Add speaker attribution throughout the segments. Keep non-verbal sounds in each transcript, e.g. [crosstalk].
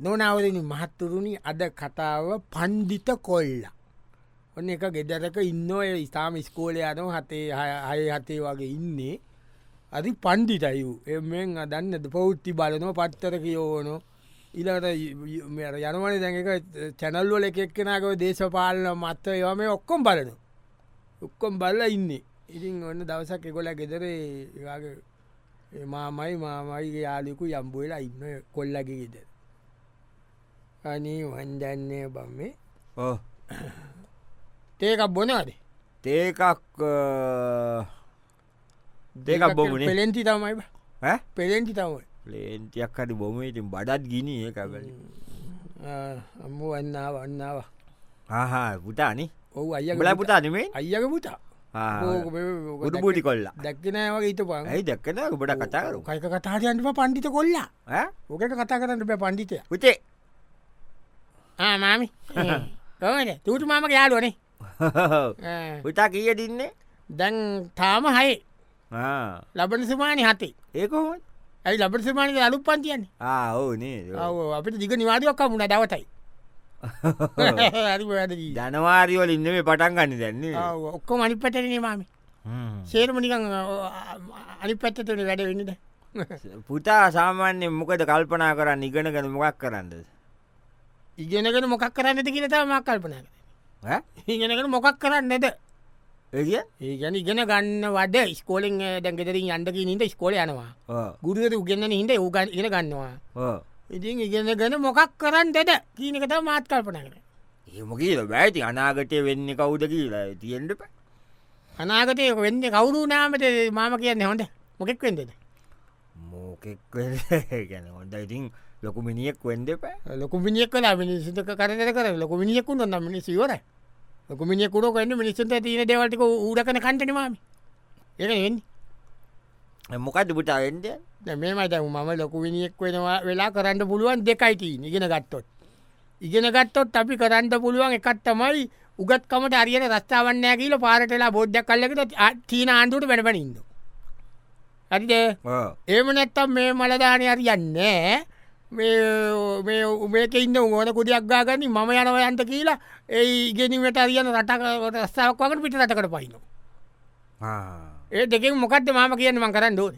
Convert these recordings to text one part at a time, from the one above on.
Speaker 1: නොනවරණ මහත්තුරුණි අද කතාව පන්දිිත කොල්ල. ඔන්න එක ගෙදරක ඉන්න ඔය ඉස්ථාම ස්කෝලයානො හතේ අය හතේ වගේ ඉන්නේ. අරි පන්දිිටයු එමෙන් අදන්නද පෞද්ති බලනො පත්තර කියෝනො ඉලට යනවන දැක චැනල්වල එකෙක්කෙනකව දේශපාලන මත්ත යම ඔක්කොම් බලන. ඔක්කොම් බල්ල ඉන්නේ ඉතින් ඔන්න දවසක් එකොල ගෙදරේ මාමයි මාමයිගේ යාලිකු යම්බුවෙලා ඉන්න කොල්ලගේ ගෙදර. අනී වන්දන්නේ බම්මේ
Speaker 2: ඕ
Speaker 1: තේකක් බොනාදේ
Speaker 2: තේකක් දෙකක් බොමනේ
Speaker 1: පෙලෙන්ති තමයි බ.
Speaker 2: ඈ?
Speaker 1: පෙලෙන්ටි තමයි
Speaker 2: ලේන්තියක් හරි බොම ඉතින් බඩත් ගිනී එකගල
Speaker 1: අම්ම වන්නාව වන්නාව
Speaker 2: හා පුතානි
Speaker 1: ඔහු අය
Speaker 2: බල පුතානමේ
Speaker 1: අයක පුතා
Speaker 2: ගුඩු පූටි කොල්ලා
Speaker 1: දැක්කනෑවගේ හිත පන්
Speaker 2: ඇයි දක්කන ගොඩ කතාරු
Speaker 1: කයික කතාටයන්ටම පණ්ඩිත කොල්ලා ඕකට කතා කරන්න බෑ පණ්ඩිතය
Speaker 2: පුතේ
Speaker 1: ආමාමි ඕන තුට මාම යාලුවනේ
Speaker 2: පුතා කිය දින්නේ
Speaker 1: දැන් තාම හයි
Speaker 2: ආ,
Speaker 1: ලබන සමානය හතේ
Speaker 2: ඒකොහොත්
Speaker 1: ඇයි ලබට සමානක අලුත් පන්තියන්නේ
Speaker 2: ආ ඕ නේ [laughs]
Speaker 1: ඔව අපිට දිග නිවාදයක්ක් මුණ දවතයි [laughs] හරි වැරදි.
Speaker 2: ජනවාරිවල ඉන්න මේ පටන් ගන්න දැන්නේ
Speaker 1: ඔව්, ඔක්කොම අනි පැටනේ මාමි
Speaker 2: හ්ම්.
Speaker 1: සේරම නිකං අනි පැත්තතන වැඩ වෙන්නද
Speaker 2: [laughs] පුතා සාමාන්‍යෙන් මොකද කල්පනා කරන්න ඉගෙන ගැන මොකක් කරන්නද
Speaker 1: ඉගෙනගෙන මොකක් කරන්නද කියනතා මක් කල්පනර ඉගෙනගෙන මොකක් කරන්නද
Speaker 2: එිය
Speaker 1: ඒ ගැන ඉගෙන ගන්න වඩ ස්කෝලෙන් දැන්ගෙතරින් අන්ඩක නිට ස්කෝල යනවා
Speaker 2: ඕ
Speaker 1: ගුරුවර උගෙන්න්න හිට ඕගන් ඉගෙන ගන්නවා
Speaker 2: ඕ
Speaker 1: ඉතින් ඉගෙනගෙන මොකක් කරන්නද කියීනකත මාත් කල්පන කර
Speaker 2: එහෙම කියල බෑති අනාගටය වෙන්න කවුද කියලා තියෙන්ට ප
Speaker 1: අනාගතය වෙන්න කවුරු නාමට මාම කියන්න හොඳ මොකෙක් වෙන්දද
Speaker 2: මෝකෙක් [laughs] ගැන හොඳ ඉතින් ලොකු මිනිියෙක් වෙන්ඩ පෑ
Speaker 1: ලොකු මිනිියක් කලා මිනිසුත කරදර කර ලොකු මිනිියකු ොන්න මිනිසිවර ලොකු මිනිියකුර කන්න මිනිසුන්ට තියන දෙවල්ටික ඌඩකන කන්ටන මාම ඒක වෙන්න
Speaker 2: මොකද පුටාවෙන්ට
Speaker 1: මේමට මම ලොකු විනිියෙක් වෙනවා වෙලා කරන්න පුළුවන් දෙකයිති ඉගෙන ගත්තොත් ඉගෙන ගත්තොත් අපි කරන්න පුළුවන් එකත් තමයි උගත්කමට අරියට රස්ථාවන්නෑ කියල පාරටලා බෝද්ධ කල්ලකට චීන ආණ්ඩුට වැඩපනින්ද ඇරිද ඒම නැත්තම් මේ මලදානය අරියන්නේ මේ උමේක ඉන්න ඕන කුඩයක් ගාගනි මම යනවයන්ට කියලා ඒ ඉගෙනීමට අරියන රටකට රස්සාාවක් වකට පිට රටකට පයින ඒ දෙකෙන් මොකක්ද මාම කියන්න මං කරන්න ඕන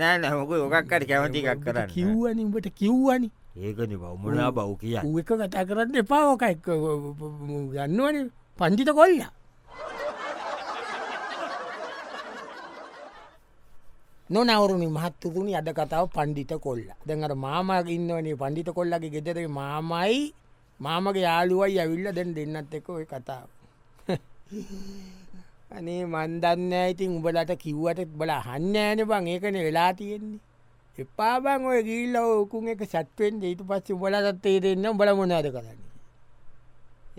Speaker 2: නෑ නමක යොකක්කට කැමතිකක් කරන්න
Speaker 1: කිව්වනි උඹට කිව්වනි
Speaker 2: ඒකන බවමුණා බව් කිය
Speaker 1: ඌ එක කතා කරන්න එපා ඕක එක්ක ගන්නවන පන්ජිත කොල්ලා නොනවරුණනි මහත්තුතුනි අද කතාව පණ්ඩිත කොල්ල දැඟට මාමග ඉන්නවනේ පණ්ඩිත කොල්ලගේ ගෙදරේ මාමයි මාමගේ යාළුවයි ඇවිල්ල දැන් දෙන්නත් එක ඔය කතාව අනේ මන්දන්න ඉතින් උඹලට කිව්වට බල හන්න ෑන බං ඒකන වෙලා තියෙන්නේ එපා බං ඔය ගිල්ල ඕකුන් එක සැත්වෙන් ඊට පස්ස උඹලටත් තේරෙන්න උඹල මොනාද කරන්න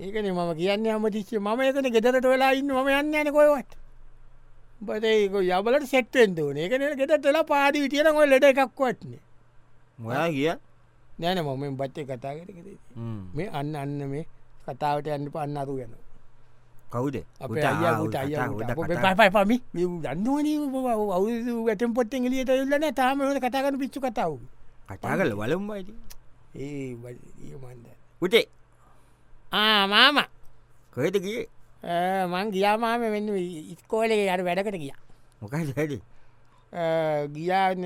Speaker 1: ඒකන මම කියන්න අමතිස්සේ මම ඒකන ගෙදරට වෙලා ඉන්න ම යන්න යන කොයවත් බදේක යබලට සෙට්ෙන් දන ඒකන ගෙදට වෙලා පාදි විටියන ඔො ලෙඩ එකක්වත්න
Speaker 2: මොයා කිය
Speaker 1: නෑන මොමෙන් බච්චේ කතා කරකද මේ අන්න අන්න මේ කතාවට යන්න පන්න අරු යනවා
Speaker 2: කවුද
Speaker 1: අපේ අයකුට අය පයි පමි දන්නුවන අවු වැටම් පොට්ටෙන් ලියට යුල්ලන තාම හොට කතාගන්න පිච්චු කතාව
Speaker 2: කටා කල වලම්බයිට
Speaker 1: ඒ මන්ද
Speaker 2: උටේ
Speaker 1: ආමාම
Speaker 2: කොහෙට කිය
Speaker 1: මං ගියාමාම වෙන්න ඉස්කෝලේ අර වැඩකට ගිය
Speaker 2: මොකයි හැඩි
Speaker 1: ගියාන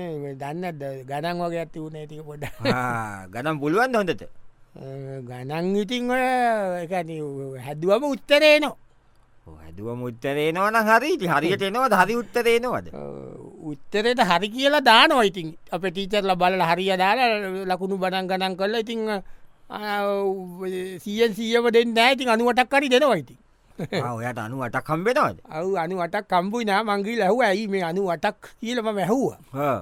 Speaker 1: දන්න ගඩන් වගේ ඇති වුණේ තික පොඩ
Speaker 2: ගනම් පුළුවන් හොඳට
Speaker 1: ගණන් ඉතින් ඔය එක හැදුවම උත්තරේ නවා
Speaker 2: හැදුව මුත්තරේ නවන හරි ඉතින් හරියට එනවද හරි උත්තරේනවද
Speaker 1: උත්තරයට හරි කියලා දාන ඔයිතින් අප ටීචර්ල බල හරිිය දාලා ලකුණු බඩන් ගණන් කරල ඉතිං සියෙන් සියම දෙන්න ඇතින් අනුවටක් කරි දෙනවයිති
Speaker 2: ඔයට අනු අට කම්බෙනවද
Speaker 1: අවු අනුවටක් කම්බුනා මංගී ලැහු ඇයි මේ අනුවටක් කියලම මැහ්වා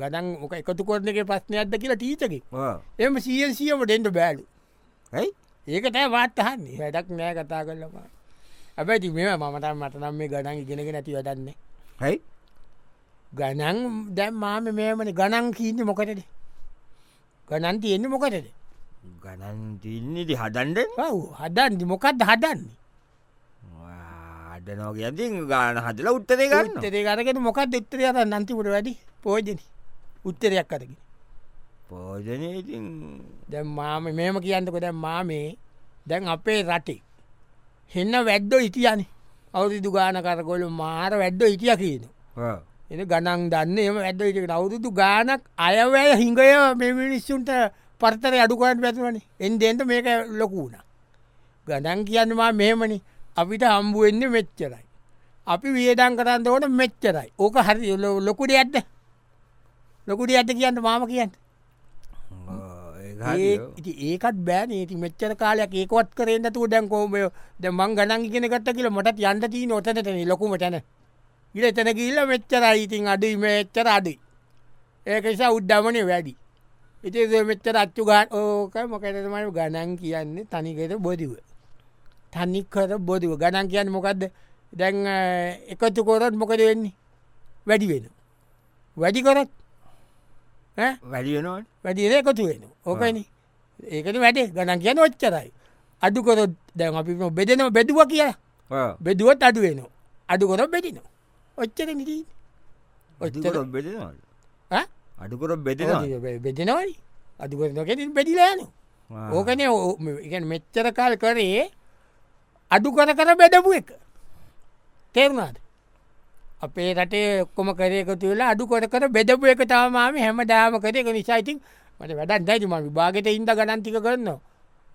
Speaker 1: ගඩන් ඕක එකතු කොරන එක ප්‍රශ්නයක්ද කියලා ටීචක එම සියෙන් සියම දෙන්න බෑලු
Speaker 2: ඇයි
Speaker 1: ඒකටෑ වාත්තහන්නේ වැඩක් නෑ කතා කරලවා ඇබැති මෙම මමට මටනම් මේ ගඩන් ඉගෙනගෙන ඇති වැඩන්නේ
Speaker 2: හැයි
Speaker 1: ගණන් දැම් මාම මෙමන ගණන් කීන්න මොකටද ගණන් තියෙන්න්න මොකටද
Speaker 2: ගණන්තින්නේති හදන්ඩ
Speaker 1: ඔව් හදන්දි මොකක්ද හදන්නේ
Speaker 2: අඩනෝක ඇතින් ගාන හදල උත්තරේ ගන්න
Speaker 1: උත්තරේ කරගෙන මොකක් දෙත්තරය අත නන්තිපුට වැඩි පෝජන උත්තරයක් කරගෙන
Speaker 2: පෝජනය ඉතින්
Speaker 1: දැ මාම මෙම කියන්නක දැ මාමේ දැන් අපේ රටේ හෙන්න වැද්ඩෝ ඉටියනේ අවුරුදු ගාන කරකොල මාර වැද්ඩෝ ඉටිය කියන
Speaker 2: ඔව්.
Speaker 1: එන ගණන් දන්න එම වැද්ඩ ඉටක අවුරුදු ගානක් අයවැය හිංගය මෙමිනිස්සුන්ට පර්තර අඩුකරට පැතුවනේ එන්දෙන්ට මේක ලොකුණ ගණන් කියන්නවා මෙමනි අපිට හම්බුවෙන්න මෙච්චරයි අපි වියදන් කරන්න ඕට මෙච්චරයි ඕක හරි ලොකුට ඇත්ත ලොකුට ඇත කියන්න මාම කියන්න
Speaker 2: ඔව්, ඒක හරි
Speaker 1: ඒ- ඉතින් ඒකත් බෑන ඒති මෙච්චර කාලයක් ඒකොත් කරෙන්න්නතුව දැන් කෝමය ද මං ගනන් ඉගෙනගත්ත කියල මටත් යන්න තිී නොතනටන ලොකුම තැන ඉල එතන කියල්ල මෙච්චර ඉතින් අඩුයි මෙච්චර අඩුයි ඒක නිසා උද්දමනය වැඩි ඉති මෙච්චර අච්චු ගා ඕක මොකටතමයි ගණන් කියන්නේ තනිකෙත බොදිව තනිකර බොදිව ගණන් කියන්න මොකක්ද දැන් අ, එකතු කොරොත් මොකද වෙන්නේ වැඩි වෙන වැඩි කොරත් ඈ?
Speaker 2: වැඩියනොට
Speaker 1: වැඩිරේ එකතු වෙන ඕකන ඒකට වැඩේ ගණන් කියන ඔච්චරයි අඩුකොර දැන් අපි බෙදෙනව බෙදුව කියලා බෙදුවත් අඩුවෙන අඩුකොර බෙදිනවා ඔච්චර නිටී ඔච්චර
Speaker 2: අඩුකොර බෙදෙනවද අඩුකොර බෙදෙනවා
Speaker 1: බෙදෙනවයි අඩුකරනොකෙට බෙදිලායනු ඕකන මෙච්චර කාල් කරේ අඩු කර කර බැඩපු එක තේරුණාද අපේ රටේ ඔක්කොම කරයකතු වෙලා අඩු කොට කර බෙදපු එක තමාම හැම දාම කරයක නිසායිතින් මට වැඩත් දැතුම විභාගට ඉන්ද ගණන්තික කරනවා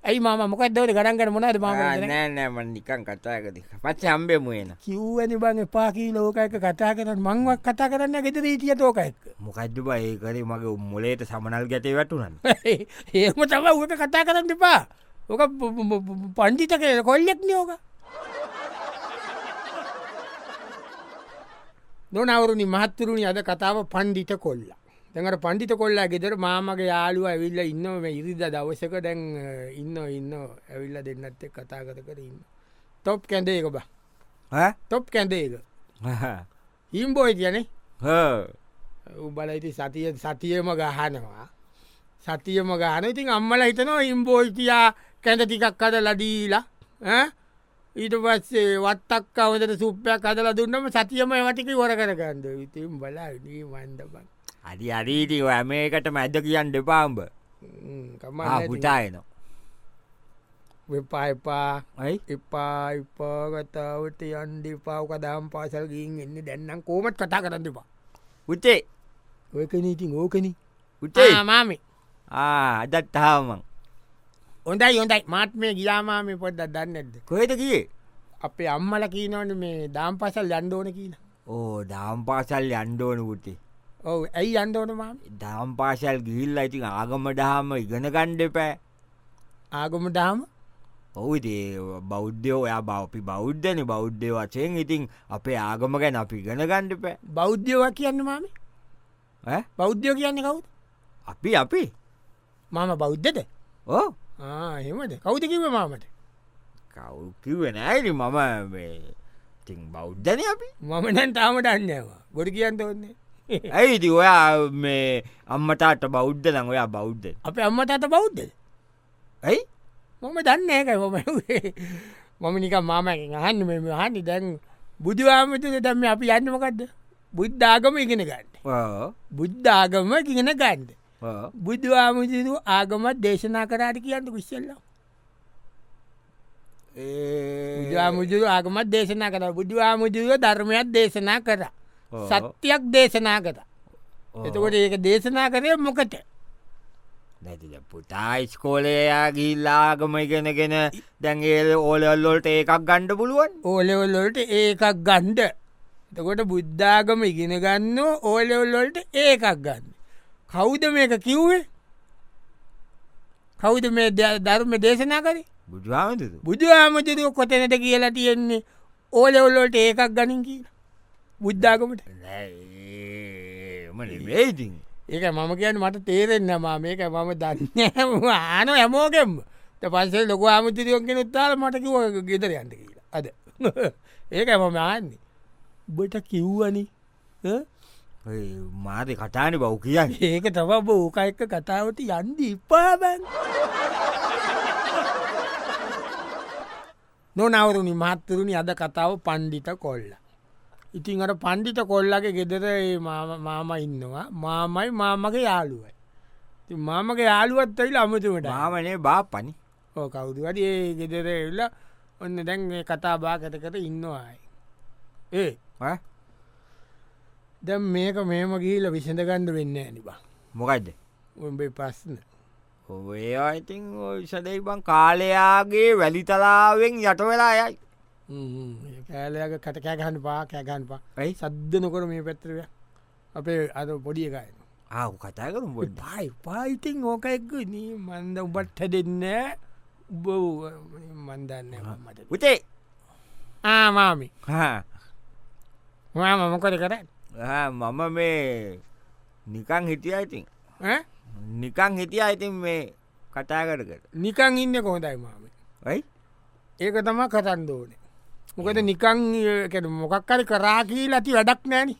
Speaker 1: ඇයි මාම මොකක් දවට ගඩන් කර මොනද ම
Speaker 2: නෑනෑම නිකන් කතාගති පච්ච හම්බෙමුයන
Speaker 1: කිව්වනි බං එපාකී ලෝකයක කතා කරන මංවක් කතා කරන්න ගෙතර හිටිය තෝක එක්ක
Speaker 2: මොකද්ද බා ඒ කරේ මගේ මුලේට සමනල් ගැටේ වැටුනන්
Speaker 1: ඒම තම ඌට කතා කරන්න එපා ඕක ප- ප- ප- ප- පණ්ඩිත කර කොල්ලෙක් නෝක නොනවරුණි මහත්තුරුණි අද කතාව පණ්ඩිත කොල්ල තැඟට පණ්ඩිත කොල්ලා ගෙදර මාමගේ යාලුව ඇවිල්ල ඉන්නම ඉරිද දවසක දැන් අ, ඉන්න ඉන්න ඇවිල්ල දෙන්නත් එක්ක කතා කර කර ඉන්න තොප් කැඳේක බ තොප් කැඳේක ඉම්බෝයි කියනේ උබලයිති සතිය සතියම ගහනවා සතියම ගාන ඉතින් අම්මල හිතනවා ඉම්බෝයිතියා කැඳ ටිකක් අද ලදීලා ඈ? ඊට පස්සේ වත්තක් අවදට සුප්පයක් අදල දුන්නම සතියම වටික වර කරගන්න ඉතින් බල නී වන්දබන්
Speaker 2: අඩි අරීටි ඇමේකට මැද කියන්න දෙපාම්බ පුටායනවා
Speaker 1: වෙපා එපා
Speaker 2: ඇයි
Speaker 1: එපා එපාගතාවට යන්ඩි පාවක දම් පාසල් ගින් එන්න දැන්නම් කෝමට කතා කරන්න එපා
Speaker 2: උටේ
Speaker 1: ඔයකන ඉතින් ඕකන
Speaker 2: උටේ
Speaker 1: මාමේ
Speaker 2: අදත් හාමං
Speaker 1: හොඳයි හොඳයි මාත්මය ගියාමාමේ පොඩ්ඩ දන්නද
Speaker 2: කොහෙට කියේ
Speaker 1: අපේ අම්මල කියීනවන මේ දාම් පසල් යන්ඩෝන කියන
Speaker 2: ඕ දාම් පාසල් යන්ඩෝන පුටේ
Speaker 1: ඔව ඇයි අන්ඩෝන මාම
Speaker 2: දාම් පාසල් ගිල්ල ඉතින් ආගම ඩහම ඉගෙන ගණ්ඩපෑ
Speaker 1: ආගොම දාම
Speaker 2: ඔවුදේ බෞද්ධයෝ ඔයා බවපි බෞද්ධන බෞද්ධය වචයෙන් ඉතින් අපේ ආගම ගැන අපි ඉගෙන ගණ්ඩපෑ
Speaker 1: බෞද්ධයවා කියන්න මාම බෞද්ධයෝ කියන්න කවුද
Speaker 2: අපි අපි
Speaker 1: මම බෞද්ධද
Speaker 2: ඕ
Speaker 1: හෙමද කෞතිකිව මාමට
Speaker 2: කවු කිවෙන ඇරි මම මේ ඉතින් බෞද්ධන අපි
Speaker 1: මම නැන් තාමට අන්නවා ගොඩ කියන්න ඔන්නේ [laughs]
Speaker 2: ඇයිති ඔයා මේ අම්මටාට බෞද්ධ නම් ඔයා බෞද්ධ
Speaker 1: අප අම්ම තාත බෞද්ධ
Speaker 2: ඇයි
Speaker 1: මම දන්න ඒකයි මම [laughs] මම නික මාමකින් අහන්න මෙම හනි දැන් බුදුවාමතුද දැම අපි යන්නමකක්ද බුද්ධාගම ඉගෙන ගන්න
Speaker 2: ඕ,
Speaker 1: බුද්ධාගම ඉගෙන ගන්ඩ
Speaker 2: ඕ.
Speaker 1: බුද්ධවාමතුරු ආගමත් දේශනා කරාට කියන්න විශ්සල්ල
Speaker 2: ඒ
Speaker 1: බුදුවාමුදුරු ආගමත් දේශනා කර බුදුවාමුදුරුව ධර්මයක් දේශනා කර
Speaker 2: ඔව්.
Speaker 1: සත්‍යයක් දේශනා කර
Speaker 2: ඔව්.
Speaker 1: එතකොට ඒක දේශනා කරය මොකට
Speaker 2: නැතිද පුතා ස්කෝලයා ගිල්ලාගම ඉගෙනගෙන දැන්ගේ ඕලල්ලොල්ට ඒකක් ගණ්ඩ පුළුවන්
Speaker 1: ඕලෙවල්ලොලට ඒකක් ගන්ඩ එතකොට බුද්ධාගම ඉගෙන ගන්න ඕලෙවල්ලොලට ඒකක් ගන්න කෞුද මේක කිව්වේ කෞුද මේ ද- ධර්ම දේශනා කරේ
Speaker 2: බුදුහාමතුද
Speaker 1: බුදුහාමතුරුව කොතනට කියලා තියෙන්නේ ඕලෙවල්ලොලට ඒකක් ගනින් කියලා බුද්ධාගමට
Speaker 2: වේදින්
Speaker 1: ඒක මම කියන්න මට තේරෙන්න්න මා මේක මම දන්න ආන හැමෝකෙම් පසේ ලොක අමුතිරියෝගෙන උත්තාල මටකිව ගෙතර යන්ට කියලා අද [laughs] ඒක මම ආන්නේ බට කිව්වනි ඈ?
Speaker 2: මාද කටාන බව් කියන්න
Speaker 1: ඒක තම බෝක එක්ක කතාවට යන්ද ඉපාබන් නොනවරුණි මහත්තරුණි අද කතාව පණ්ඩිත කොල්ල. ඉතින් අට පණ්ඩිත කොල්ලගේ ගෙදර ඒ මාම- මාම ඉන්නවා මාමයි මාමගේ යාළුවයි. ඉතින් මාමගේ යාලුවත් ඇයිල අමතුමට
Speaker 2: බාමනේ බාපනි
Speaker 1: ඕ කවුදුවට ඒ ගෙදර එල්ල ඔන්න දැන් මේ කතා බාකට කර ඉන්නවායි ඒ දැම් මේක මේම ගිහිල විසඳගණ්ඩ වෙන්න ඇනිබා
Speaker 2: මොකයිද
Speaker 1: උඹේ පස්න
Speaker 2: ඔයා ඉතින් විසදයි බං කාලයාගේ වැලිතලාවෙන් යට වෙලා යයි
Speaker 1: කෑලයක කටකෑගහන්න පා කෑගහන්න පා
Speaker 2: ඇයි
Speaker 1: සද්ධ නොකොට මේ පැත්තරය අපේ අද පොඩිය එකයි
Speaker 2: ආව කතා කරු
Speaker 1: පයි පායිතින් ඕක එක්ක නී මන්ද උබට දෙන්න උබ මන්දන්න මට
Speaker 2: උතේ
Speaker 1: ආමාමි මාම මොකද කර
Speaker 2: මම මේ නිකං හිටිය ඉතින් නිකං හිටිය ඉතින් මේ කතාකරකට
Speaker 1: නිකං ඉන්න කොහොදයි මාම
Speaker 2: යි
Speaker 1: ඒක තම කතන් දෝන මොකද නිකං කැන මොකක්කර කරාකී ලති වැඩක් නෑන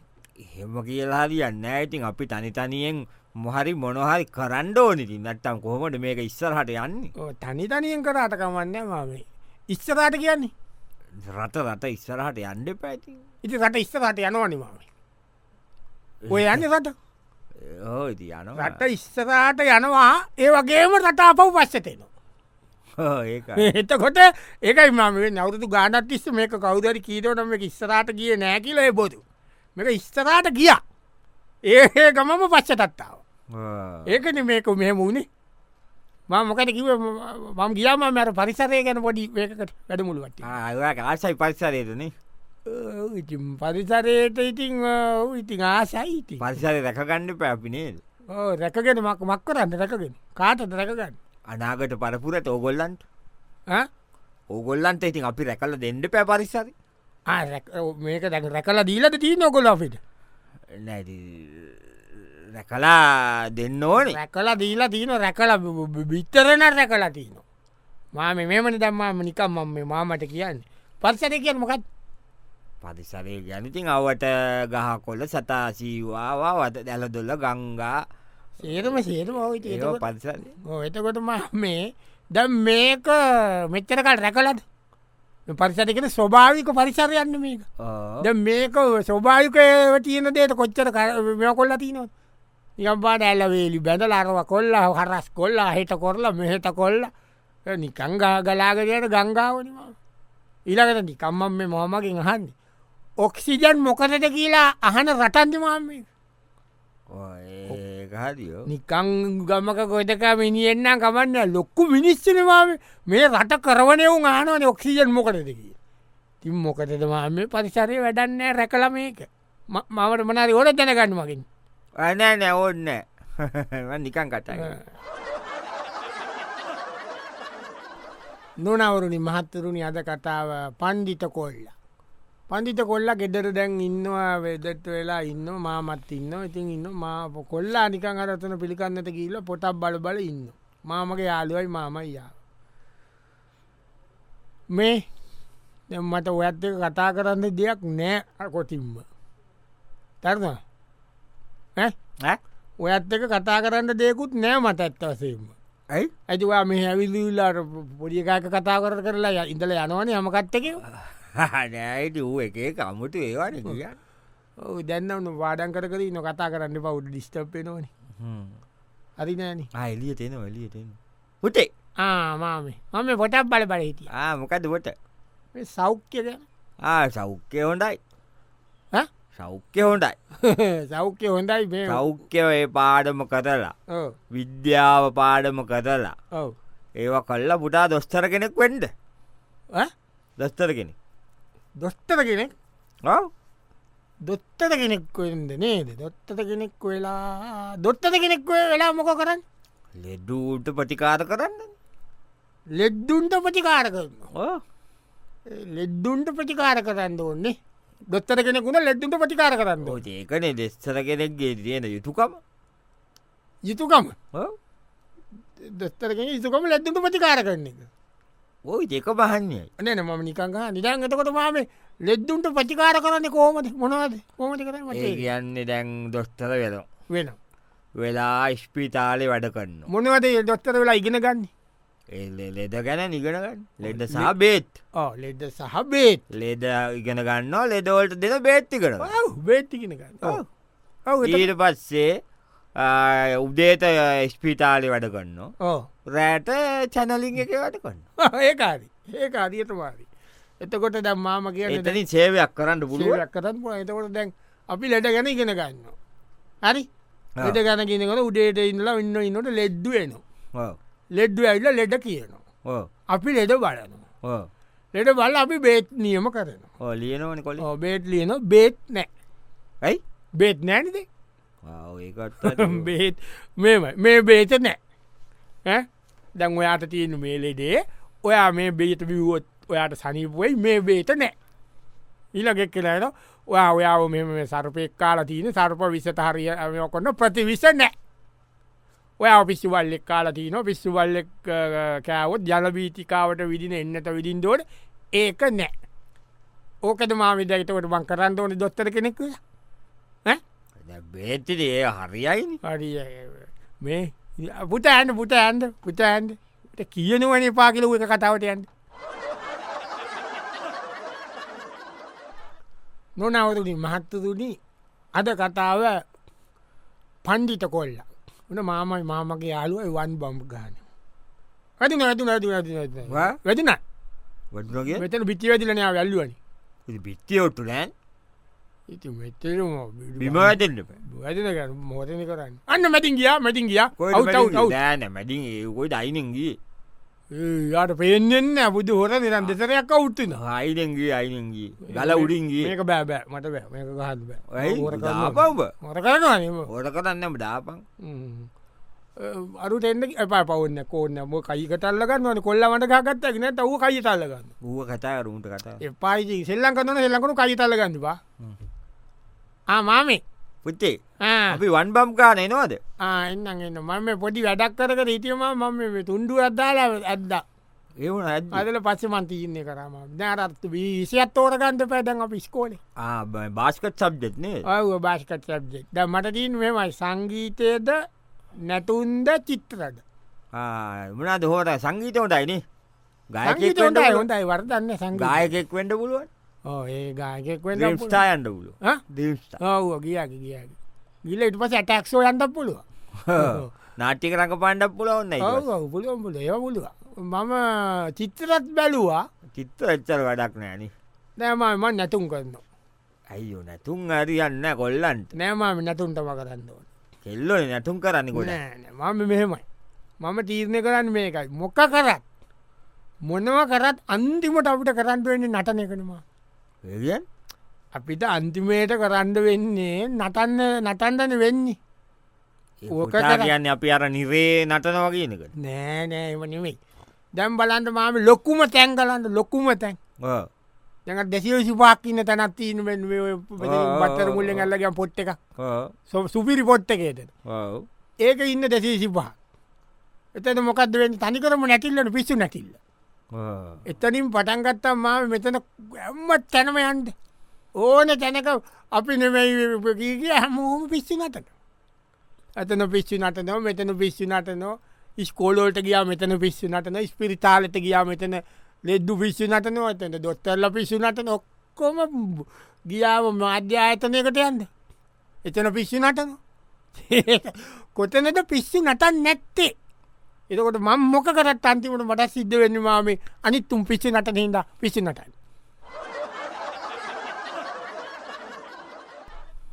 Speaker 2: එහෙම කියලා හරියන්න ඉතින් අපි තනිතනියෙන් මොහරි මොනොහරි කරන්්ඩෝ නිතින් නත්තම් කොහොමට මේක ඉස්සරහට යන්නේ
Speaker 1: තනි තනියෙන් කරාටකමන්න මාමේ ඉස්සරාට කියන්නේ
Speaker 2: රට රට ඉස්සරහට යන්ඩ පැති
Speaker 1: ඉති රට ඉස්සරට යනවනි මාමේ ඔය යන්න රට
Speaker 2: ඕති යන
Speaker 1: රට ඉස්සරාට යනවා ඒ වගේම රට අපව් පස්සතේනවා [laughs]
Speaker 2: ඒ
Speaker 1: එතකොට ඒකයි මම නවරුතු ගානත් ඉස්ස මේක කවුදරි කීතවටම ඉස්සරට කිය නෑ කියල බොතු මේක ඉස්තරාට ගිය ඒ ගමම පච්චටත්තාව ඒකන මේක මෙහම වුණේ මම මොකට කිව මම ගියාම මැර පරිසරය ගැන පොඩි ඒකට වැඩමුළුවට
Speaker 2: ආසයි පරිසරයටන
Speaker 1: ඉතින් පරිසරයට ඉතිං ඔව් ඉතිං ආසයි ඉති
Speaker 2: පරිසරය රැකගණ්ඩ පැපිනේ
Speaker 1: රැකගෙන මක් මක් කරන්න රැකගෙන කාටට රැකගන්න
Speaker 2: අනාගට පරපුරට ඕගොල්ලන්ට
Speaker 1: ආ?
Speaker 2: ඕගොල්ලන්ට ඉතින් අපි රැකල දෙන්ඩ පැ පරිසරි
Speaker 1: ආ, රැක- ඔව්, මේක දැක රැකලා දීලට තිී නොකොල අපිට
Speaker 2: නැති රැකලා දෙන්න ඕන
Speaker 1: රැකලා දීලා තියන රැකල බිත්තරන රැකලා තියනවා මාම මෙමනි දම්මාම නිකම් මම මාමට කියන්න පත්සට කිය මොකත්
Speaker 2: පරිසරය ගැනතින් අවට ගහ කොල්ල සතාසීවාවා වත දැල දොල්ල ගංගා
Speaker 1: සේරම සේරම
Speaker 2: ඒ
Speaker 1: ඔ
Speaker 2: පරිසර
Speaker 1: එතකොට ම මේ දැම් මේක මෙච්චරකට රැකලත් පරිසටකට ස්වභාවික පරිසරයන්න මේක ද මේක ස්වභාවික තියන දේට කොච්චර මෙ කොල්ල තියනොත් යම්පාට ඇල්ල වේලි බැඳ ලාරව කොල්ලා හරස් කොල්ලා හෙට කොරලා මෙහෙට කොල්ල නිකංගා ගලාගරයට ගංගාවනිවා ඊළඟට නිකම්මම් මේ මොහමකින් අහන්න ඔක්සිජන් මොකටට කියලා අහන රටන්දමාම
Speaker 2: හරිෝ
Speaker 1: නිකං ගමක කොටක මිනිියෙන්න්න කමන්න ලොක්කු මිනිස්සනවාම මේ රට කරවනයවු ආනවන ඔක්සිජන් මොකටද කිය තින් මොකටදමා මේ පරිසරය වැඩන්නෑ රැකල මේක ම- මවට මනාරි ඕොට දැනගන්න මගින්
Speaker 2: අනෑ නැවන්න [laughs] නිකන් කටයි
Speaker 1: නොනවරුණි මහත්තරුණි අද කතාව පණ්ඩිත කොල්ල. පණ්ඩිත කොල්ල ගෙදර දැන් ඉන්නවා වෙදට වෙලා ඉන්න මාමත් ඉන්න ඉතින් ඉන්න මා පො- කොල්ලා නිකං අරත්තන පිළිකන්නට කියීල පොටක් බල බල ඉන්න. මාමගේ යාලුවයි මාමයියා. මේ දැන් මට ඔයත් එක කතා කරන්න දෙයක් නෑ කොටිම්ම. තරවා ඔයත් එක කතා කරන්න දෙයකුත් නෑ මත ඇත්තවසේම.
Speaker 2: ඇයි [laughs]
Speaker 1: ඇතිවා මේ ඇවිල්ලාට පොඩිකාක කතා කර කරලා ය- ඉඳල යනවන යමකත්තක
Speaker 2: නෑට වූ එකේ කමුතු ඒවාන කිය
Speaker 1: දැන්නවන වාඩන් කරකර නො කතා කරන්න පවු් ඩිස්ටප්ේ නොන හරි නෑන
Speaker 2: අයිලිය තියෙන වලිය තියෙන හුටේ
Speaker 1: ආමාමේ මම පොටක් බල බල හිටිය
Speaker 2: මොකදවට
Speaker 1: සෞඛ්‍යද
Speaker 2: සෞඛ්‍ය හොඳයි
Speaker 1: ඈ? [laughs]
Speaker 2: සෞඛ්‍ය හොඳයි
Speaker 1: සෞඛ්‍ය හොඳයි මේ
Speaker 2: සෞඛ්‍යය පාඩම කරලා
Speaker 1: ඔව්,
Speaker 2: විද්‍යාව පාඩම කරලා
Speaker 1: ඔව්.
Speaker 2: ඒවා කල්ලා පුටා දොස්තර කෙනෙක් වෙන්ඩ
Speaker 1: ඈ?
Speaker 2: දස්තර කෙනෙ
Speaker 1: දොස්තර කෙනෙක් දොත්තර කෙනෙක් වෙන්ද නේද දොත්තර කෙනෙක් වෙලා දොත්තර කෙනෙක් වෙලා මොක කරන්න
Speaker 2: ලෙඩූට ප්‍රතිකාර කරන්න
Speaker 1: ලෙද්දුන්ට ප්‍රතිකාර කරන්න ලෙද්දුන්ට ප්‍රතිකාර කරන්න ඕන්නේ දොත්තර කෙනෙකුුණ ලෙද්දුන්ට ප්‍රතිකාර කරන්න ඕන.
Speaker 2: ඒකනේ දෙස්තර කෙනෙක්ගේ තියෙන යුතුකම
Speaker 1: යුතුකම
Speaker 2: ඔව්.
Speaker 1: දොස්තරගෙන යුතුකම ලැද්දුට ප්‍රතිකාර කරන එක
Speaker 2: ඔය දෙක බහන්නේයි
Speaker 1: නන ම නිකංහ නිදාන් එතකොට මාම ලෙද්දුන්ට ප්‍රතිකාර කරන්න කෝමද මොනවද කෝමති කර
Speaker 2: ඒ කියන්නේ දැන් දොස්තර වෙන
Speaker 1: වෙන
Speaker 2: වෙලා ඉස්පිතාලේ වැඩ කරන්න
Speaker 1: මොනවද ඒ දොස්තර වෙලා ඉගෙන ගන්න
Speaker 2: එ ලෙද ගැන නිගෙනගන්න ලෙඩ සාබේත්
Speaker 1: ඕ ලෙද්ද සහ බේත්
Speaker 2: ලෙද ඉගෙන ගන්නවා ලෙඩවලට දෙන බේත්ති කරන
Speaker 1: [laughs] බේත්තිගෙන ගන්න
Speaker 2: ඊට පස්සේ ආ, උදේට ස්පිතාලි වැඩ කන්න
Speaker 1: ඕ
Speaker 2: රෑට චැනලින් එක වැඩ කන්න
Speaker 1: ඒකාරි [laughs] ඒක අරියටවාරි එතකොට දැම් මාම කියන
Speaker 2: එතනින් සේවයක් කරන්න පුළුව
Speaker 1: ලක්කතන් පුල එතකොට දැන් අපි ලෙඩ ගැන ඉගෙන ගන්න හරි ලෙඩ ගැන කියෙනකට උඩේට ඉන්නලා ඉන්න ඉන්නට ලෙඩ්දුවන ලෙඩ්ඩ ඇල්ල ලෙඩ කියනවා අපි ලෙඩ බලනවා ලෙඩ බල අපි බේත් නියම කරනවා
Speaker 2: ලියනවන කොල
Speaker 1: ඔව්, බේත් ලියන බේත් නෑ
Speaker 2: ඇයි
Speaker 1: බේත් නෑනද [laughs]
Speaker 2: ඒකත්
Speaker 1: බේත් මෙමයි මේ බේත නෑ ඈ? දැන් ඔයාට තියෙන මේ ලෙඩේ ඔයා මේ බේත විවුවොත් ඔයාට සනිපුවයි මේ බේත නෑ ඊලගෙක් කියලාන ඔයා ඔයාව මෙම සරපයක් කාල තියන සර්ප විසත හරිය කොන්න ප්‍රතිවිස නෑ ඔයා පිස්සුවල්ලෙක් කාල තියන පිස්සුවල්ලෙක් කෑවොත් ජලබීතිකාවට විදින එන්නට විදිින් දෝට ඒක නෑ ඕකද මාවිදයිතකට බං කරන්න ඕන දොත්තර කෙනෙක් කියලා
Speaker 2: බේත්තිට ඒ හරියයින
Speaker 1: හරි මේ පුට ඇන්ඩ පුට ඇන්ද පුට ඇන්ද කියනුවන පාකිල එක කතාවට ඇන්ද නොනවතුනි මහත්තතුනි අද කතාව පණ්ඩිත කොල්ල උන මාමයි මාමගේ යාලුවයි වන් බම්බ ගාන ඇති නැතු නැතු නැති
Speaker 2: වා?
Speaker 1: වැතින
Speaker 2: වඩගේ
Speaker 1: මෙතන බිච්චි වැතිලනයා වැල්ලුවනි
Speaker 2: බිත්තිය ඔට්ටු නෑන්
Speaker 1: ඉති මෙතර
Speaker 2: බිමටෙන්ට
Speaker 1: වැදන මෝතන කරන්න අන්න මැතින් ගියා මැතින් ගියා අව්, අව්, අව්.
Speaker 2: ෑන මැඩින් ඒකොයි අයිනගේ
Speaker 1: යාට පේෙන්න්න බුදු හොර නිරන් දෙසරයක් අවුත්තින
Speaker 2: හයිඩගේ අයිනගේ ගල උඩින්ගේ
Speaker 1: ඒක බෑබෑ මට බෑ මේක ගහන්න බෑ
Speaker 2: ඇයි
Speaker 1: හොර කරනවා.
Speaker 2: දාපව්බ
Speaker 1: හොර කරනවා නේම.
Speaker 2: හොට කරන්නම ඩාපන්
Speaker 1: හ්ම්. අ, අරුට එන්න එපා පවන්න කෝන්න ම කයිකටල්ලගන්න ඕන කොල්ලමට ගත්ත ගෙන තව කයිතල්ලගන්න
Speaker 2: ඌුව කතා රුන්ට කතා
Speaker 1: එපායි සෙල්ලන් කරන සෙල්ලකනු කයිතල්ලගන්නවා
Speaker 2: හ්ම්.
Speaker 1: ආමාමේ
Speaker 2: පුත්තේ අපි වන් බම් කාන එනවාද
Speaker 1: එන්න එන්න මම පොඩි වැඩක් කරක හිටියම මම තුන්ඩු අද්දාලා ඇද්දා
Speaker 2: ඒවන ඇත්
Speaker 1: අදල පස්සමන් තියන්නේ කරම දැරත්තු විසිත් ෝරගන්ත පැදන් අප ස්කෝලේ
Speaker 2: ආ බාස්කට් සබ්ජෙත්නේ
Speaker 1: ඔව භාෂකට සබ්ෙක් ද මට තින් මෙමයි සංගීතයද නැතුන්ද චිත්‍රද
Speaker 2: මනාද හෝට සංගීතවට අයිනේ ගායකෙක්
Speaker 1: සංගීතොට
Speaker 2: වෙන්ඩ
Speaker 1: හොඳයි වර්දන්න සංගාය
Speaker 2: ගායකෙක් වෙන්ඩ පුළුවන්
Speaker 1: ඒ ගායකෙක් වෙන්න පුළුවන්.
Speaker 2: ස්ටායන්ඩ පුලු
Speaker 1: ආ? ඔව් ගියකි ගියකි ගිල ඉට පස ඇටක්ෂෝ යන්ට පුළුව
Speaker 2: නාට්‍යක රඟ පණ්ඩක් පුලවන්න
Speaker 1: පුලොම් පුල ඒ පුළුව මම චිත්‍රත් බැලුවා
Speaker 2: චිත්ත එච්චර වැඩක් නෑන
Speaker 1: නෑමම නැතුම් කරන්න
Speaker 2: ඇයිෝ නැතුන් අරියන්න කොල්ලන්ට
Speaker 1: නෑමම නැතුන්ටම කරන්න ඕන
Speaker 2: කෙල්ලොන නැතුම් කරන්න ගොඩ
Speaker 1: නෑ, නෑ, මම මෙහෙමයි මම තීරණය කරන්න මේකයි මොක කරත් මොනව කරත් අන්තිමට අපිට කරන්න වෙන්නේ නටන එකනවා
Speaker 2: එියන්
Speaker 1: අපිට අන්තිමයට කරන්න වෙන්නේ නටන්න නටන්ඩන වෙන්නේ ඕක
Speaker 2: ඕකතා
Speaker 1: කරා.
Speaker 2: කියන්න අපි අර නිරේ නටනවගේනකට
Speaker 1: නෑනෑ එම නෙමෙයි දැම් බලන්ට මාම ලොක්කුම තැන් කලන්න ලොක්කුම තැන් දැඟ දෙසිව සිපාක්කින්න තැනත්තිීන
Speaker 2: ආ,
Speaker 1: බත්තර මුල්ලෙන්
Speaker 2: ආ.
Speaker 1: අල්ලගම් පොට් එක සො- සුපිරි පොට්ට එකේට ඒක ඉන්න දෙසේ සිපා එතන මොකක්ද වෙන්න තනිකරම නැකිල්ලට පිස්සු නැකිල්ල එතනින් පටන්ගත්තම් මාම මෙතන ඇම්මත් තැනම යන්ට ඕන තැනක අපි නෙමයිගීගේ හැමෝම පිස්සි නටන ඇතන පිස්සි නටනෝ මෙතන පිස්සි නටනෝ ස්කෝලෝට ගියා මෙතන පිස්සි නටන ස්පිරිතාලට ගියා මෙතන ලෙද්දු පිස්සි නටනෝ ඇතන දොත්තරල පිස්සු නටන ඔක්කොම ගියාව මාධ්‍ය ආයතනයකට යන්න එතන පිස්සි නටන [laughs] කොතනද පිස්සි නටන් නැත්තේ එතකොට මං මොක කරත් අන්තිමට මට සිද්ධ වෙන්නවාම අනිත් තුම් පිසි නට හිද පිසි නටයි.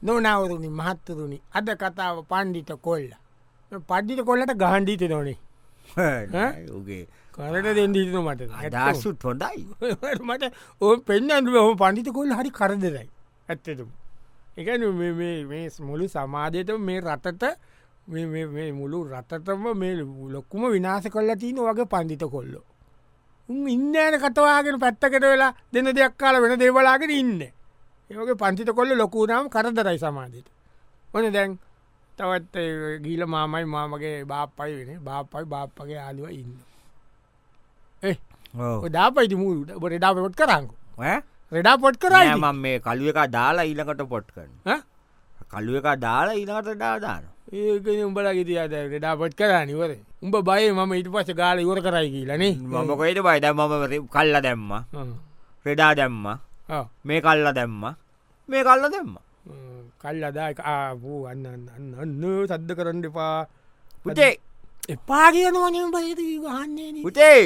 Speaker 1: නොනවරුණි මහත්තරුණි අද කතාව පණ්ඩිත කොල්ල. පඩ්ඩිට කොල්ලට ගහන්ඩීත නොනේ
Speaker 2: ගේ
Speaker 1: කරට දෙදීන මට ඇත්තටම.
Speaker 2: අදාසුත් හොඩයි
Speaker 1: [laughs] මට ඕ පෙන්න්නට හම පණ්ඩිත කොල්ල හරි කරදරයි ඇත්තතුම්. එක මුළු සමාජයට මේ රටට මේ- මේ- මේ මුළු රටටම මේ ලොක්කුම විනාස කොල්ලා තියන වගේ පන්දිිත කොල්ලෝ. උන් ඉන්න ඇන කතවාගෙන පැත්තකට වෙලා දෙන දෙයක් කාල වෙන දේවලාගෙන ඉන්න. ඒගේ පන්තිත කොල්ල ලොකුනාම් කරදරයි සමාජයට. ඕන දැන් තවත් ඒ ගීල මාමයි මාමගේ බාප්පයි වෙන බාප්පයි බාප්පගේ ආලුව ඉන්න. ඒ දාපයිති මුට බොට ඩා පොට් කරංකු රෙඩා පොට් කරයි
Speaker 2: මම මේ කළුව එක දාලා ඊළකට පොට් කරන කළුව එක දාලා ඊළකට ඩාදාන
Speaker 1: ඒක උඹලගේ තියාද රෙඩා පොට් කරනිවර උඹ බය මම ඉට පස ගාල ඉවර කරයි කියලනේ
Speaker 2: මමකොයිට බයිද මම කල්ල දැම්ම
Speaker 1: ඔව්.
Speaker 2: රෙඩා දැම්ම
Speaker 1: ඔව්.
Speaker 2: මේ කල්ල දැම්ම මේ කල්ල දැම්ම
Speaker 1: ම්ම්. කල් අදායක ආපු අන්න අන්න අන්න අන්න සද්ද කරන්න එපා
Speaker 2: පුතේ
Speaker 1: එපා කියන වනින් පහිත ගහන්නේ
Speaker 2: පුතේ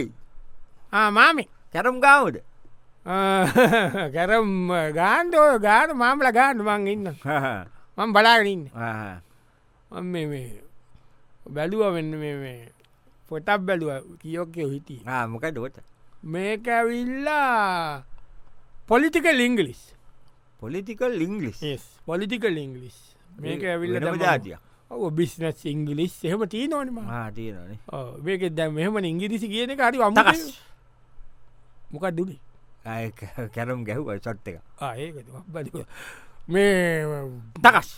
Speaker 1: මාමේ
Speaker 2: කැරම් ගාවද
Speaker 1: [laughs] කැරම් ගාන්ඩෝ ගාන මාමල ගාන්න මං ඉන්න මං බලාගන්න මං මේ මේ බැලුව වෙන්න මේ මේ පොටක් බැලුව කියෝකයෝ හිටිය
Speaker 2: මොක ඩෝට
Speaker 1: මේක ඇවිල්ලා political English
Speaker 2: political English
Speaker 1: political English මේක ඇවිල්ල
Speaker 2: ජාතිය
Speaker 1: ඔ බිස්නස් ඉංගලිස් එහෙම තිී නොනම
Speaker 2: තියෙනනේ
Speaker 1: මේක දැ මෙහම ඉංගිරිසි කියන කාරි අම
Speaker 2: තකස්
Speaker 1: මොකක් දුනේ
Speaker 2: කැරම් ගැහ්ව සොට් එක
Speaker 1: ආඒ බල මේ
Speaker 2: තකස්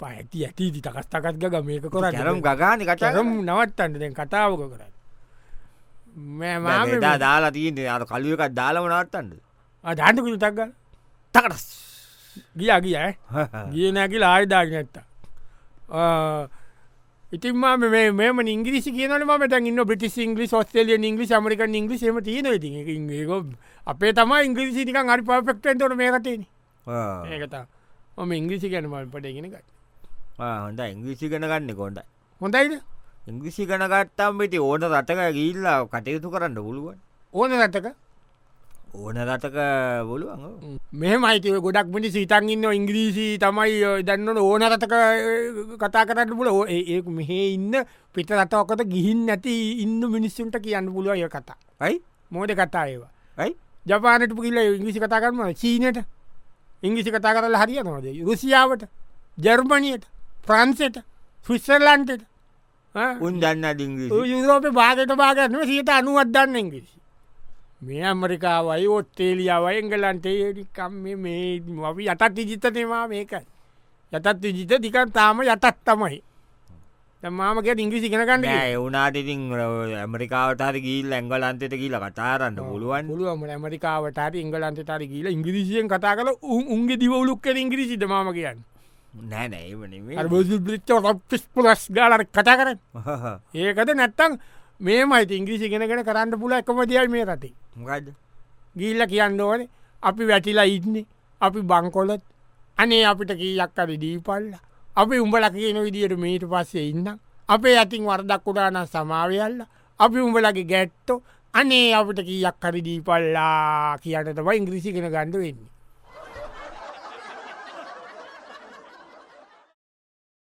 Speaker 1: පැති ඇතිීති තකස් තකත්ග මේක කොර
Speaker 2: කැරම් ගගාන
Speaker 1: චරම්
Speaker 2: කටරම්
Speaker 1: නවත්තන්න දැන් කතාවක කරන්න මේ
Speaker 2: එදා
Speaker 1: මාම
Speaker 2: දාලා තියන්නේ අර කලුවකත් දාලම නවත්තන්ද
Speaker 1: ධාන්තකුට තක්ග
Speaker 2: තකටස්
Speaker 1: ගියා ගිය ඈ. ගියනැකි ආයදාග නැත්ත ඉතින් ම මෙම ඉංග්‍රිසි කියන මට ඉන්න පිටි ඉංගලි ොස්ේලිය ඉංගලි මරික ඉංගලි ම තියන ති අපේ තම ඉංග්‍රිසි නික අරි පපෙක්ටන්තොට මේකතන ඒකතා ඔම ඉංග්‍රිසි ගැන මල් පටගෙනක
Speaker 2: හොඳ ඉංග්‍රිසි කන ගන්න කොන්ට
Speaker 1: හොඳයිද
Speaker 2: ඉංග්‍රිසි කනගත්තම් වෙති ඕන රටක ගිල්ලා කටයුතු කරන්න පුළුවන්
Speaker 1: ඕන ගත්තක
Speaker 2: ඕන රටක බොලුවන් ඔව්.
Speaker 1: මෙම අයිතිව ගොඩක් මිනි සිතන් ඉන්න ඉංග්‍රීසි තමයි ඔය දන්නට ඕන රතක කතා කරන්න පුල ඕ ඒ ඒක මෙහෙ ඉන්න පිට රතවකට ගිහින් නැති ඉන්න මිනිස්සුන්ට කියන්න පුළුව ය කතා
Speaker 2: ඇයි
Speaker 1: මෝඩ කතා ඒවා
Speaker 2: ඇයි
Speaker 1: ජපානට පුකිල්ල ඉංගිසි කතා කරම චීනයට ඉංගිසි කතා කරලා හරිය නොද රුසියාවට ජර්මණයට ප්‍රන්සට ෆිස්සර්ලන්ටට
Speaker 2: උන් දන්න ඉංග්‍රිසි
Speaker 1: යුරෝපය භාගට භාගරන සිට අනුවත් දන්න ඉංගිසි මේ අමරිකාවයි ඔත්තේලියාවයි එංගලන්ටේකම් මේ අපි යටත් විජිතනවා මේකයි යටත් විජිත දිකන් තාම යටත් තමයි තමාමක ඉංග්‍රිසි කෙනකන්න
Speaker 2: එවුනාටඉතින් uh, ඇමරිකාවට හරි ගිල් ඇංගලන්තෙට කියල කතාරන්න
Speaker 1: Oh.
Speaker 2: පුළුවන්
Speaker 1: පුළුවම ඇමරිකාවටට ඉංගලන්තටර කියල ඉංග්‍රීසියෙන් කතා කල උන් උන්ගේ දිවලුක්ක ඉංග්‍රීසිට මාම කියන්න
Speaker 2: නෑනෑ
Speaker 1: බිච්ච පස් පුලස් ගාලර කතා කරන්න
Speaker 2: [laughs]
Speaker 1: ඒකද නැත්තං මේ මයිති ඉංග්‍රීසි ගෙනගෙන කරන්න පුල එකම දියල් මේ රති
Speaker 2: මොකද
Speaker 1: ගිල්ල කියන්න ඕන අපි වැටිලා ඉන්නේ අපි බංකොලොත් අනේ අපිට කීයක් අර දීපල්ල අපි උඹල කියන විදියට මීට පස්සේ ඉන්න අපේ ඇතින් වර්දක්කුඩාන සමාවයල්ල අපි උඹලගේ ගැට්ටෝ අනේ අපිට කීයක් හරි දීපල්ලා කියන්නටම ඉංග්‍රීසි කෙන ගණඩ වෙන්නේ